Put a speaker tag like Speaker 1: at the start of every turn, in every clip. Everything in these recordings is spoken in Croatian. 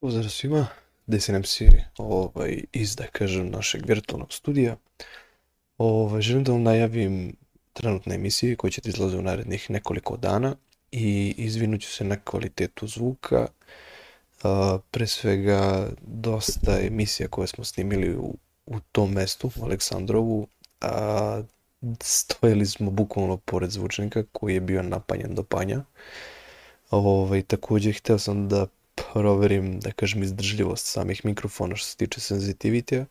Speaker 1: Pozdrav svima, Desinem Siri, ovaj, iz, da kažem, našeg virtualnog studija. Ovaj, želim da vam najavim trenutne emisije koje će izlaze u narednih nekoliko dana i izvinut ću se na kvalitetu zvuka. A, pre svega, dosta emisija koje smo snimili u, u tom mestu, u Aleksandrovu, a, stojili smo bukvalno pored zvučnika koji je bio napanjen do panja. Ovaj, također, htio sam da proverim, da kažem, izdržljivost samih mikrofona što se tiče senzitivitija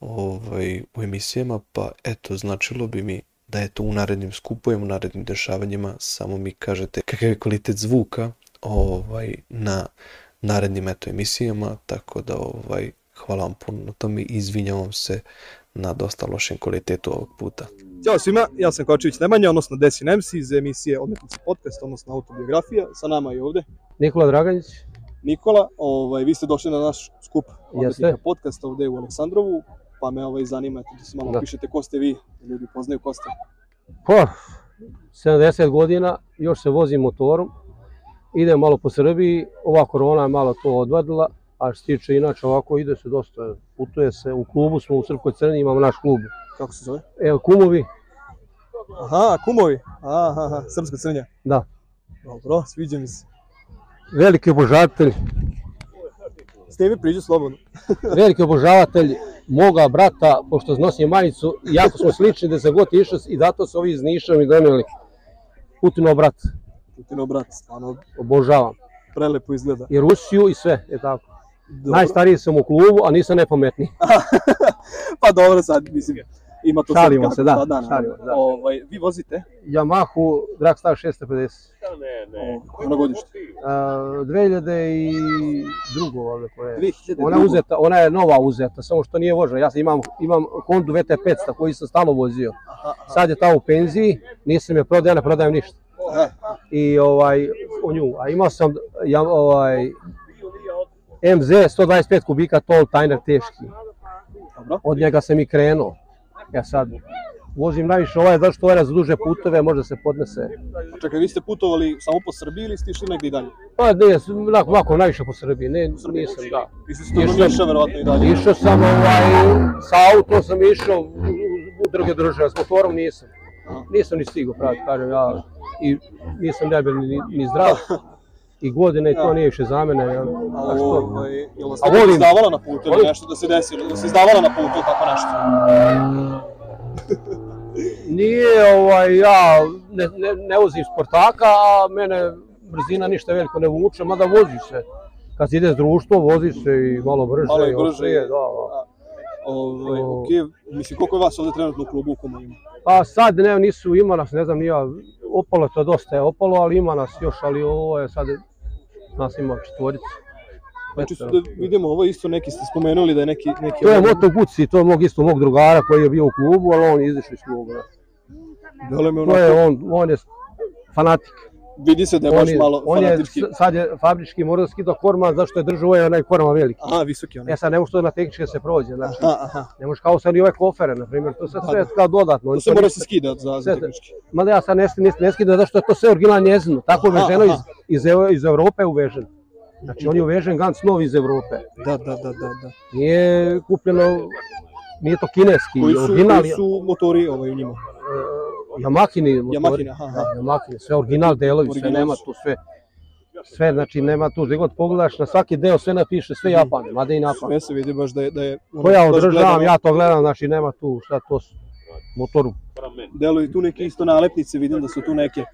Speaker 1: ovaj, u emisijama, pa eto, značilo bi mi da je to u narednim skupovima, u narednim dešavanjima, samo mi kažete kakav je kvalitet zvuka ovaj, na narednim eto emisijama, tako da ovaj, hvala vam puno na tome i izvinjavam se na dosta lošem kvalitetu ovog puta.
Speaker 2: Ćao svima, ja sam Kovačević Nemanja, odnosno Desin MC iz emisije Odmetnici podcast, odnosno autobiografija. Sa nama je ovdje
Speaker 3: Nikola Draganić,
Speaker 2: Nikola, ovaj, vi ste došli na naš skup Odmetnika
Speaker 3: Jeste.
Speaker 2: podcast ovdje u Aleksandrovu, pa me ovaj zanima, eto, da se malo
Speaker 3: Da.
Speaker 2: pišete ko ste vi, da ljudi poznaju ko ste.
Speaker 3: pa, 70 godina, još se vozim motorom, idem malo po Srbiji, ova korona je malo to odvadila, a što se tiče inače ovako ide se dosta, putuje se, u klubu smo u Srpkoj Crni, imamo naš klub.
Speaker 2: Kako se zove?
Speaker 3: Evo kumovi,
Speaker 2: Aha, kumovi. Aha, aha, srpska crnja.
Speaker 3: da,
Speaker 2: Dobro, sviđa mi se.
Speaker 3: veliki obožavatelj,
Speaker 2: Ste vi priđu slobodno.
Speaker 3: veliki obožavatelj moga brata, pošto nosim majicu, jako smo slični da se god išao i zato su ovi iz Niša mi donijeli. Putinov brat,
Speaker 2: Putino brat, stvarno
Speaker 3: obožavam.
Speaker 2: prelepo izgleda.
Speaker 3: I Rusiju i sve, je tako.
Speaker 2: Dobro.
Speaker 3: Najstariji sam u klubu, a nisam najpametniji.
Speaker 2: Pa dobro sad, mislim, ima to
Speaker 3: Šalimo
Speaker 2: kako,
Speaker 3: se, da,
Speaker 2: pa naravno.
Speaker 3: šalimo se, da.
Speaker 2: Ovaj, vi vozite?
Speaker 3: Yamahu Dragstar 650.
Speaker 2: Ovo, ono godište.
Speaker 3: A, 2002. valjda koja je.
Speaker 2: 2002.
Speaker 3: Ona, je uzeta, ona je nova uzeta, samo što nije vožena. Ja sam imam, imam Hondu VT500 koju sam stalno vozio.
Speaker 2: Aha, aha.
Speaker 3: Sad je ta u penziji, nisam je prodao, ja ne prodajem ništa.
Speaker 2: E,
Speaker 3: I ovaj, o nju, a imao sam ja, ovaj, MZ 125 kubika tol tajner teški.
Speaker 2: Dobro.
Speaker 3: Od njega sam i krenuo. Ja sad vozim najviše ovaj, zato što ovaj za duže putove možda se podnese.
Speaker 2: A Čekaj, vi ste putovali samo po Srbiji ili ste išli negdje i dalje?
Speaker 3: Pa nije, onako, ovako, najviše po Srbiji, ne,
Speaker 2: Srbiji.
Speaker 3: nisam, da.
Speaker 2: Išli ste do Niša, verovatno i dalje.
Speaker 3: Išao sam ovaj, sa autom sam išao u, u druge države, s motorom nisam. Nisam ni stigao pravi, kažem ja, i nisam debel ni, ni zdrav. I godine i to nije više za mene, ja, a što?
Speaker 2: Ovaj, jel vas
Speaker 3: A
Speaker 2: nekako
Speaker 3: volim.
Speaker 2: izdavala na putu ili
Speaker 3: Volim.
Speaker 2: nešto da se desi, ili da se izdavala na putu ili tako nešto?
Speaker 3: Nije, ovaj, ja ne, ne, ne vozim sportaka, a mene brzina ništa veliko ne vuče, mada vozi se. Kad se ide s društvom, vozi se i malo brže.
Speaker 2: Malo i brže.
Speaker 3: oštrije, da, da.
Speaker 2: Ovaj,
Speaker 3: O.
Speaker 2: ok, mislim, koliko je vas ovdje trenutno u klubu u kome ima?
Speaker 3: Pa sad ne, nisu, ima nas, ne znam, ni ja, opalo to dosta je opalo, ali ima nas još, ali ovo je sad, nas ima četvorica.
Speaker 2: Znači,
Speaker 3: Petoro.
Speaker 2: da vidimo, ovo je isto neki ste spomenuli da je neki... neki ono,
Speaker 3: To je Moto Guci, to je mog isto mog drugara koji je bio u klubu, ali on je izašao iz kluba. da.
Speaker 2: Dole me
Speaker 3: To
Speaker 2: onako,
Speaker 3: je on, on je fanatik.
Speaker 2: vidi se da je
Speaker 3: On
Speaker 2: baš
Speaker 3: je,
Speaker 2: malo
Speaker 3: on je
Speaker 2: fanatički.
Speaker 3: s- sad je fabrički morda skidao korma, zašto je držao ovaj onaj korma veliki.
Speaker 2: Aha, visoki on.
Speaker 3: Ja sad ne može to na tehničke da se prođe, znači,
Speaker 2: Aha, aha.
Speaker 3: ne može kao sad i ove kofere, na primjer, to sad
Speaker 2: Da,
Speaker 3: sve
Speaker 2: Pa da.
Speaker 3: kao dodatno.
Speaker 2: To
Speaker 3: oni
Speaker 2: se
Speaker 3: to
Speaker 2: mora
Speaker 3: ništa-
Speaker 2: se skidat za, za
Speaker 3: Sve-
Speaker 2: tehnički.
Speaker 3: Mada ja sad ne, ne, ne skidam, zato što je to sve original njezino, tako je
Speaker 2: Aha,
Speaker 3: uveženo iz,
Speaker 2: aha.
Speaker 3: iz, Ev- iz Europe je uveženo. Znači on je uvežen ganc nov iz Europe,
Speaker 2: Da, da, da, da. da.
Speaker 3: nije kupljeno, nije to kineski,
Speaker 2: Koji su,
Speaker 3: original
Speaker 2: koji
Speaker 3: je,
Speaker 2: su motori ovaj, u njima?
Speaker 3: e, Yamakini motori,
Speaker 2: Yamahine, aha, aha.
Speaker 3: Da, Yamahine, sve original delovi, sve
Speaker 2: Original
Speaker 3: nema
Speaker 2: su.
Speaker 3: tu sve, sve znači nema tu, gdje god pogledaš na svaki deo sve napiše, sve Japan, mada i Japan.
Speaker 2: Mhm. Sve se vidi baš da je... Da je ono,
Speaker 3: To ja
Speaker 2: baš
Speaker 3: održavam,
Speaker 2: gledano-
Speaker 3: ja to gledam, znači nema tu, šta to su, motoru
Speaker 2: Deluju tu neke isto nalepnice, vidim da su tu neke.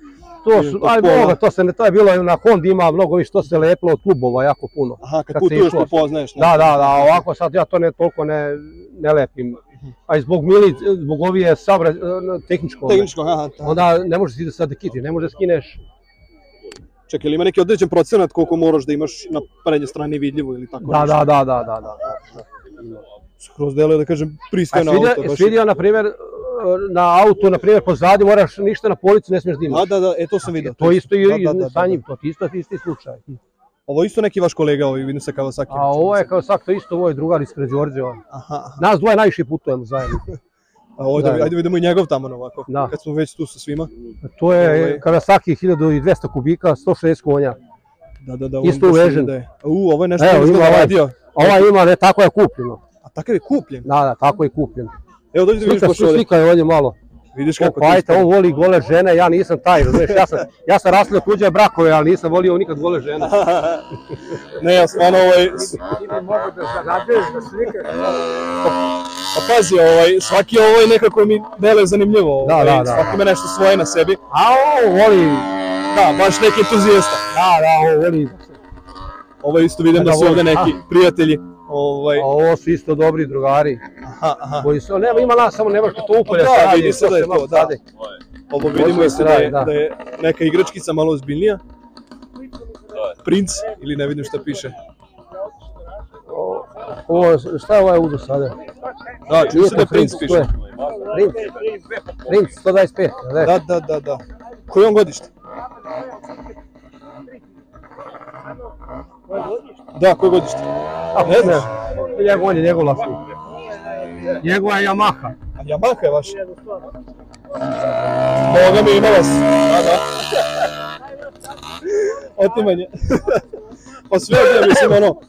Speaker 3: To su,
Speaker 2: Ili
Speaker 3: aj
Speaker 2: od pola.
Speaker 3: Boga, to se ne, to je bilo na Hondi ima mnogo više, to se lepilo od klubova jako puno.
Speaker 2: Aha, kad,
Speaker 3: Kad se
Speaker 2: putuješ
Speaker 3: išlo.
Speaker 2: poznaješ.
Speaker 3: Da, da, da, ovako sad ja to ne toliko ne, ne lepim. A i zbog mili, zbog ovije sabra, tehničko,
Speaker 2: Tehničko, aha. Da.
Speaker 3: onda ne možeš ti da sad kiti, ne možeš da skineš.
Speaker 2: Čekaj, ili ima neki određen procenat koliko moraš da imaš na prednjoj strani vidljivo ili tako
Speaker 3: Da, da, da, da, da, da.
Speaker 2: Skroz deluje da kažem
Speaker 3: A jesi
Speaker 2: pristojno
Speaker 3: vidio-
Speaker 2: auto.
Speaker 3: jesi
Speaker 2: Baš...
Speaker 3: vidio, na primjer, na autu, na primjer, pozadi moraš ništa na policu, ne smiješ da
Speaker 2: Da,
Speaker 3: imaš.
Speaker 2: da, da, e to sam vidio.
Speaker 3: To isto i
Speaker 2: Da, da, da,
Speaker 3: sa
Speaker 2: da,
Speaker 3: njim,
Speaker 2: da.
Speaker 3: to ti isto, isti slučaj.
Speaker 2: Ovo je isto neki vaš kolega, ovaj vidim sa Kawasaki.
Speaker 3: A ovo je kao sad, to isto, ovo je drugar ispred Đorđeva.
Speaker 2: Aha, aha.
Speaker 3: Nas dvoje najviše putujemo zajedno.
Speaker 2: A ovdje,
Speaker 3: Da, da.
Speaker 2: ajde vidimo i njegov tamo na ovako.
Speaker 3: Da.
Speaker 2: Kad smo već tu sa svima.
Speaker 3: Pa To
Speaker 2: Ovaj-
Speaker 3: je Kawasaki 1200 kubika, 160 konja.
Speaker 2: Da, da, da.
Speaker 3: Isto
Speaker 2: on baš
Speaker 3: uvežen.
Speaker 2: da je- U, ovo je nešto
Speaker 3: Evo,
Speaker 2: Evo,
Speaker 3: ima
Speaker 2: ima
Speaker 3: ovaj.
Speaker 2: radio.
Speaker 3: Ova ima, ne, tako je kupljeno.
Speaker 2: A takav je kupljen.
Speaker 3: Da, da, tako je kupljeno.
Speaker 2: Evo dođi da vidiš
Speaker 3: Slika,
Speaker 2: baš ovdje.
Speaker 3: slika je ovdje malo.
Speaker 2: Vidiš
Speaker 3: O,
Speaker 2: kako ti
Speaker 3: pajte,
Speaker 2: ispada.
Speaker 3: on voli gole žene, ja nisam taj, razumiješ, ja sam, ja sam rastao tuđe brakove, ali nisam volio nikad gole žene.
Speaker 2: Ne, ja stvarno ovaj...
Speaker 4: Ti bi mogu da zarađuješ da slikaš.
Speaker 2: Pa pazi, ovaj, svaki ovaj nekako mi dele zanimljivo.
Speaker 3: Da,
Speaker 2: Ovaj,
Speaker 3: da, da.
Speaker 2: Svaki ima nešto svoje na sebi.
Speaker 3: A on voli,
Speaker 2: Da, baš neki entuzijasta.
Speaker 3: da, da, on voli.
Speaker 2: Ovo isto vidim
Speaker 3: Da,
Speaker 2: da su
Speaker 3: ovo-
Speaker 2: ovdje neki prijatelji. Ovaj,
Speaker 3: A ovo su isto dobri drugari.
Speaker 2: aha, aha.
Speaker 3: Koji su, nema, ima nas, samo ne možete to upolje
Speaker 2: Da,
Speaker 3: se radi,
Speaker 2: Pa, vidi se da je
Speaker 3: se
Speaker 2: to,
Speaker 3: malo
Speaker 2: da.
Speaker 3: sade.
Speaker 2: Ovo
Speaker 3: Hoćemo
Speaker 2: vidimo isto
Speaker 3: se
Speaker 2: da je,
Speaker 3: radit, da.
Speaker 2: da je neka igračkica malo ozbiljnija. Princ, ili ne vidim šta piše.
Speaker 3: O, Ovo, šta je ovaj udo sada?
Speaker 2: Da, čini se da
Speaker 3: to
Speaker 2: je princ
Speaker 3: to
Speaker 2: piše.
Speaker 3: je. Princ, Princ 125, jel ne?
Speaker 2: Da, da, da, da. Koji je on godište? Da, koje godište?
Speaker 3: A,
Speaker 2: Ne znaš?
Speaker 3: Njegov, on je njegov vlasnik. Njegova je Yamaha.
Speaker 2: A Yamaha je vaša? Boga mi imala se. Da, da. Otimanje. pa sve ovdje, mislim, ono,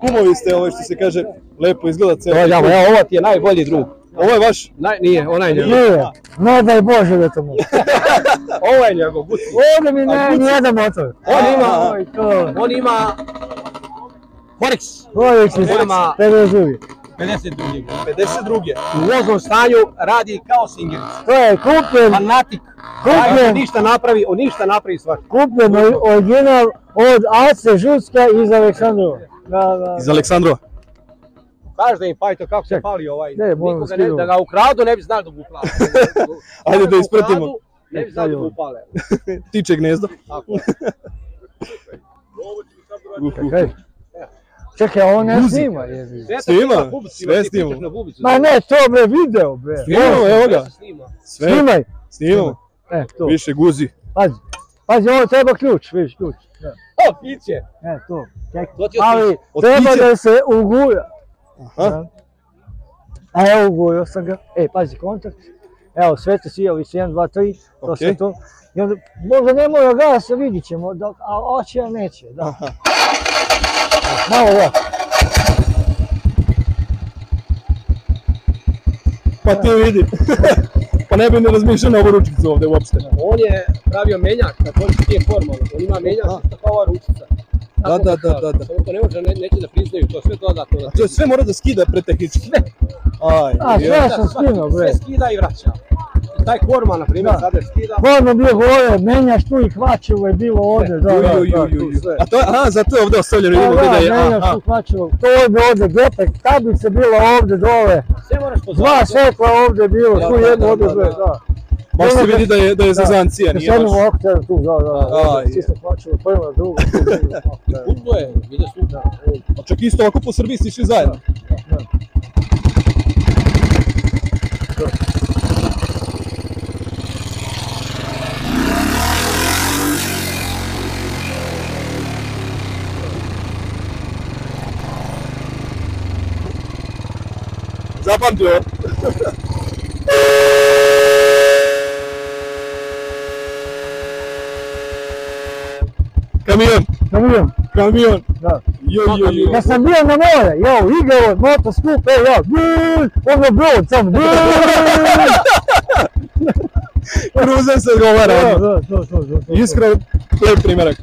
Speaker 2: kumovi ste, ovaj, što se kaže, lepo izgleda
Speaker 3: Ovo
Speaker 2: cijelo.
Speaker 3: je Yamaha, evo, ovo ti je najbolji drug.
Speaker 2: Ovo je vaš?
Speaker 3: Naj, nije, onaj je njegov.
Speaker 4: Je, ne daj Bože da to mogu.
Speaker 3: Ovo je njegov, Guci.
Speaker 4: Ovdje mi ne, nijedan motor.
Speaker 3: On ima,
Speaker 4: Oj, to,
Speaker 3: on ima Forex
Speaker 4: uvijek si
Speaker 3: Nema-
Speaker 4: te razumije.
Speaker 3: 52.
Speaker 2: 52.
Speaker 3: U voznom stanju radi kao singerica.
Speaker 4: To je kupljen,
Speaker 3: Fanatik.
Speaker 4: Kupljen.
Speaker 3: On ništa napravi, on ništa napravi svaki.
Speaker 4: kupljen ori- original od Ace Žutska iz Aleksandrova. Da, da.
Speaker 2: Iz Aleksandrova.
Speaker 3: Kaži da im pajto kako se
Speaker 4: Ček.
Speaker 3: pali ovaj.
Speaker 4: Ne, molim vas,
Speaker 3: Nikoga ne,
Speaker 4: skidamo.
Speaker 3: da ga ukradu ne bi znali da ga uplale.
Speaker 2: Ajde da
Speaker 3: ga
Speaker 2: ispratimo.
Speaker 3: ukradu, Ne bi znali da ga upale.
Speaker 2: Tiče gnezdo.
Speaker 3: Tako je.
Speaker 2: Uh, uh.
Speaker 4: Čekaj. Čekaj, on ne
Speaker 2: Guzi.
Speaker 4: snima, jebi.
Speaker 3: Sve se
Speaker 2: Snima,
Speaker 3: snima, bubicu
Speaker 2: sve
Speaker 3: ima, ti
Speaker 2: snima.
Speaker 3: pričaš na bubicu.
Speaker 4: Ma ne, to bre, video bre.
Speaker 2: Snimamo, evo
Speaker 3: Sve
Speaker 2: ga.
Speaker 3: se snima.
Speaker 2: Sve.
Speaker 4: Snimaj.
Speaker 2: Snimamo.
Speaker 4: E, to,
Speaker 2: Više guzi.
Speaker 4: pazi. Pazi, ovo treba ključ, vidiš, ključ. Da.
Speaker 3: O, piće.
Speaker 4: E, to, čekaj.
Speaker 3: To ti je
Speaker 4: Ali,
Speaker 3: otišlo.
Speaker 2: Od pića?
Speaker 4: treba da se ugura.
Speaker 2: Aha.
Speaker 4: A evo ugojio sam ga. E, pazi, kontakt. Evo, sve te sijali se, 1, 2, 3, to
Speaker 2: Okej.
Speaker 4: sve to. I onda, možda ne mora gasa, vidit ćemo, dok, a oće ja neće, da.
Speaker 2: Aha.
Speaker 4: Malo ovako.
Speaker 2: Pa ti vidi. pa ne bi ne razmišljao na ovu ručicu ovdje uopšte.
Speaker 3: On je pravio menjak, također nije formalno, on ima menjak,
Speaker 2: A.
Speaker 3: tako ova ručica.
Speaker 2: Da, da, da, da, da.
Speaker 3: Samo to ne može, ne, neće da priznaju, to sve dodatno da
Speaker 2: A to je sve mora da skida pre tehnički. Sve. Aj,
Speaker 4: A, sve
Speaker 2: joj.
Speaker 4: ja sam skinuo, bre.
Speaker 3: Sve skida i vraća. I taj korma, na primjer,
Speaker 4: Da.
Speaker 3: sada je skida.
Speaker 4: Ono bio gore, menjaš tu i hvačevo je bilo ovdje, da, da,
Speaker 2: E, Ju,
Speaker 4: da,
Speaker 2: ju, ju,
Speaker 4: tu
Speaker 2: ju, ju.
Speaker 4: sve.
Speaker 2: A to je, aha, zato je ovdje ostavljeno,
Speaker 4: Da,
Speaker 2: vidimo gdje da
Speaker 4: da,
Speaker 2: je,
Speaker 4: menjaš
Speaker 2: aha.
Speaker 4: tu hvačevo, to je ovdje depek, tablica bila ovdje dole,
Speaker 3: Sve moraš
Speaker 4: dva
Speaker 3: pozvati.
Speaker 4: svetla ovdje bilo,
Speaker 3: Da,
Speaker 4: tu
Speaker 3: da,
Speaker 4: jedno
Speaker 3: da,
Speaker 4: ovdje
Speaker 3: da,
Speaker 4: dole,
Speaker 3: da.
Speaker 4: da.
Speaker 2: Baš se vidi da je, da je zazancija, nije
Speaker 4: Sa
Speaker 2: baš.
Speaker 4: jednom oktavom tu, da, da,
Speaker 2: Aj,
Speaker 4: da,
Speaker 2: je.
Speaker 4: svi se pa hvačevo, prva, druga, tu, druga, da.
Speaker 3: Kupno je, vide su. Da.
Speaker 2: A čak isto ovako po Srbiji ste išli zajedno. Zapamtio. Kamion,
Speaker 4: Da vidim,
Speaker 2: kamion.
Speaker 4: da.
Speaker 2: Jo, jo, jo.
Speaker 4: Ja sam bio na more, jo, igao, moto skup, e, jo, brrrr, ono brod, samo brrrr.
Speaker 2: Kruzer se
Speaker 4: Da,
Speaker 2: odgovara.
Speaker 4: da,
Speaker 2: odmah.
Speaker 4: da, da, da, da.
Speaker 2: Iskra, lep primjerak.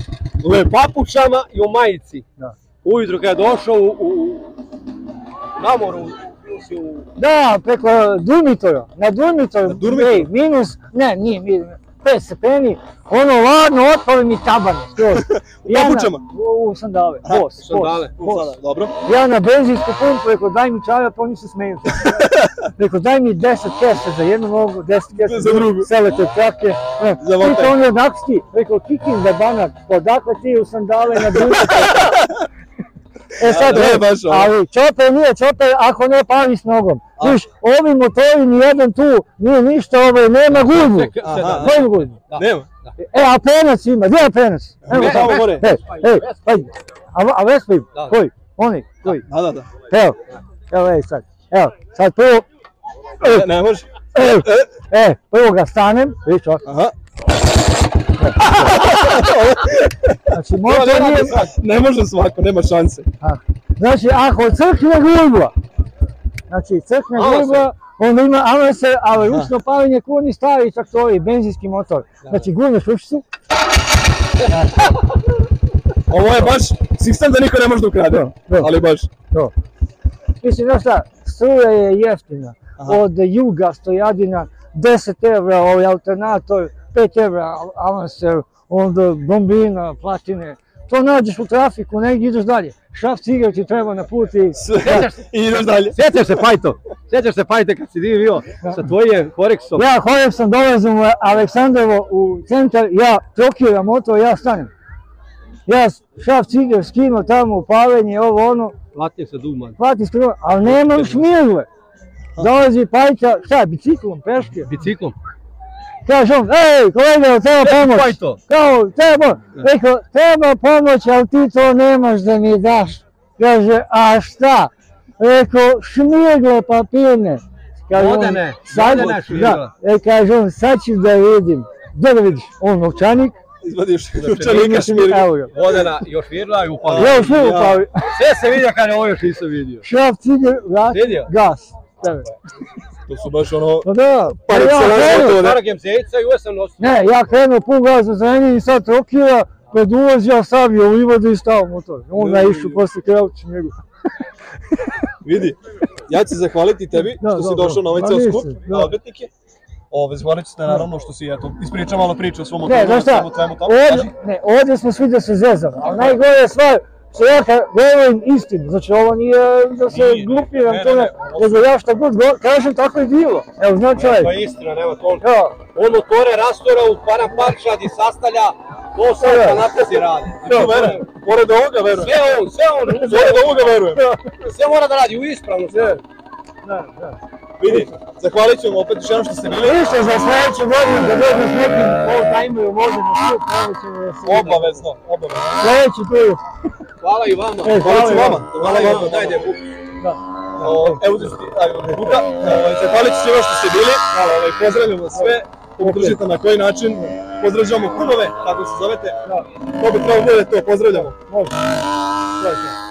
Speaker 2: Lep.
Speaker 3: U papučama i u majici.
Speaker 4: Da.
Speaker 3: Ujutro kad je došao u, u na moru, bio si u
Speaker 4: Da, preko Durmitora, na Durmitoru,
Speaker 2: Na Durmitoru?
Speaker 4: ej, minus, ne, nije minus, 5 stepeni, ono ladno, otpali mi tabane, skroz.
Speaker 2: U
Speaker 4: Ja na-
Speaker 2: papučama?
Speaker 4: U, u sandale,
Speaker 2: Aha,
Speaker 4: bos,
Speaker 3: sandale,
Speaker 4: bos,
Speaker 2: U,
Speaker 4: bos.
Speaker 2: sada, Dobro.
Speaker 4: Ja na benzinsku pumpu, rekao daj mi čaja, pa oni se smeju. Rekao daj mi 10 kesa za jednu nogu, 10 kesa
Speaker 2: Za drugu.
Speaker 4: Sele te trake. E,
Speaker 2: Za vapaj.
Speaker 4: Pita on je odak si ti? Rekao kikin za banak, odakle ti u sandale na benzinsku E sad,
Speaker 2: da,
Speaker 4: e,
Speaker 2: baš ono.
Speaker 4: ali čoper nije čoper ako ne pali s nogom. Viš, ovi motori nijedan tu, nije ništa, ovaj, nema gužbu.
Speaker 3: Ček,
Speaker 2: Aha.
Speaker 3: čekaj.
Speaker 4: Nema gužbu.
Speaker 3: Da.
Speaker 2: Nema.
Speaker 4: E, a penac ima, gdje je penac? Evo,
Speaker 2: Ne,
Speaker 4: tamo
Speaker 2: ne,
Speaker 4: gore.
Speaker 2: ne.
Speaker 4: E, e, pa, a, a Vespa ima?
Speaker 3: Da, da.
Speaker 4: Koji? Oni, koji?
Speaker 2: Da, da, da.
Speaker 4: Evo, evo, ej, sad, evo, sad prvo,
Speaker 2: Ne, Ne može. E,
Speaker 4: e, e, prvo ga stanem, vidiš, ovako,
Speaker 2: Aha.
Speaker 4: Znači,
Speaker 2: To ne
Speaker 4: motor
Speaker 2: radi
Speaker 4: nije...
Speaker 2: svako, ne može svako, nema šanse.
Speaker 4: A, Znači, ako crkne gurgla, znači crkne
Speaker 2: Malo se.
Speaker 4: gurgla, onda ima amorser, ali
Speaker 2: Da.
Speaker 4: ručno paljenje kurni stavi čak to i benzinski motor. Znači, gurneš ručicu,
Speaker 2: Ovo je baš sistem da niko ne može da ukrade.
Speaker 4: Da, da.
Speaker 2: Ali baš.
Speaker 4: to. Mislim, znaš šta, struja je jeftina.
Speaker 2: Aha.
Speaker 4: Od juga, stojadina, 10 evra ovaj alternator, 5 evra amorser, onda bombina, platine. To nađeš u trafiku, negdje ideš dalje. Šaf cigaret ti treba na put i...
Speaker 2: Sve. I ideš dalje.
Speaker 3: Sjećaš se Pajto, sjećaš se Pajte kad si ti bio sa tvojim koreksom.
Speaker 4: Ja hojem sam, dolazim u Aleksandrovo u centar, ja trokiram motor, ja stanem. Ja s- šaf cigar skinu tamo u palenje, ovo ono,
Speaker 3: Platim se Duman.
Speaker 4: hvati skroz, ali nemam šmirle. Dolazi pajka, šta, biciklom, peške.
Speaker 3: Biciklom.
Speaker 4: Kaže on, ej, kolega, treba pomoć.
Speaker 3: Pajto.
Speaker 4: Kao, treba, rekao, treba pomoć, ali ti to nemaš da mi daš. Kaže, a šta? Rekao, šmirgle papirne. Kaže on,
Speaker 3: Vodene,
Speaker 4: sad-
Speaker 3: vodene šmirgle.
Speaker 4: Da, e, kaže on, sad ću da vidim. Da da vidiš, on novčanik,
Speaker 2: Izvadiš
Speaker 4: i
Speaker 2: učenika Šimirika.
Speaker 4: evo ga.
Speaker 3: Vodena još virla i upala.
Speaker 4: Ja još
Speaker 2: Ja.
Speaker 4: ne upao,
Speaker 3: Sve se vidio kad ovo još nisam vidio.
Speaker 4: šraf, cigar, gas,
Speaker 3: Vidio?
Speaker 4: gas. Tebe.
Speaker 2: To su baš ono...
Speaker 4: Pa da, pa
Speaker 2: Par
Speaker 4: ja
Speaker 2: excellence
Speaker 4: krenuo,
Speaker 2: to, ne?
Speaker 3: Stara gemzejica i uvijek sam nosio.
Speaker 4: Ne, ja krenuo pun gaza za njim i sad trokira, pred ulaz ja savio u livadu i stao motor. Onda je išao posle kraući njegu.
Speaker 2: Vidi, ja ću se zahvaliti tebi
Speaker 4: Da,
Speaker 2: što si
Speaker 4: dobro.
Speaker 2: došao na ovaj
Speaker 4: Ma
Speaker 2: ceo
Speaker 4: nisi,
Speaker 2: skup,
Speaker 4: da.
Speaker 2: na odmetnike. Ove, zahvalit ću te naravno što si, eto, ispričao malo priče o svom
Speaker 4: Ne,
Speaker 2: motoru,
Speaker 4: znaš
Speaker 2: o
Speaker 4: šta,
Speaker 2: svemu tvemu tamo. Kaži.
Speaker 4: ovdje, ne, ovdje smo svi da se zezamo, ali najgore je stvar što ja kad govorim istinu, znači ovo nije da se
Speaker 2: Nije,
Speaker 4: grupiram,
Speaker 2: ne,
Speaker 4: to
Speaker 2: ne,
Speaker 4: ne,
Speaker 2: ne, ovo
Speaker 4: nego ja šta god go- kažem tako je bilo, evo znači ovaj,
Speaker 3: To je istina, nema toliko.
Speaker 4: ja,
Speaker 3: On motore rastora u para parča di sastavlja, to sam
Speaker 4: Da.
Speaker 3: da napredi radi.
Speaker 2: Ja verujem, pored ovoga verujem.
Speaker 3: Sve on, sve on,
Speaker 2: Pored ovoga verujem.
Speaker 3: sve mora da radi, u ispravno sve.
Speaker 4: da, da.
Speaker 2: Vidi, zahvalit ću vam opet još jednom što ste bili.
Speaker 4: Više za sljedeću godinu da dođem s nekim old-timerom možda na skup, onda ćemo da se vidimo.
Speaker 2: Obavezno, obavezno.
Speaker 4: Sljedeći put.
Speaker 3: Hvala i vama.
Speaker 4: E,
Speaker 2: Hvala
Speaker 4: hvala
Speaker 2: i vama.
Speaker 3: Hvala i vama,
Speaker 2: Hvala.
Speaker 3: dajde, buk.
Speaker 2: O, Evo da ste, ajmo ne buka. Ovaj, Zahvalit ću svima što ste bili. Ovaj, Pozdravljam vas sve. Podržite na koji način. Pozdravljamo kumove, kako se zovete. To bi trebalo bude to, pozdravljamo.
Speaker 4: Može. Sljedeći.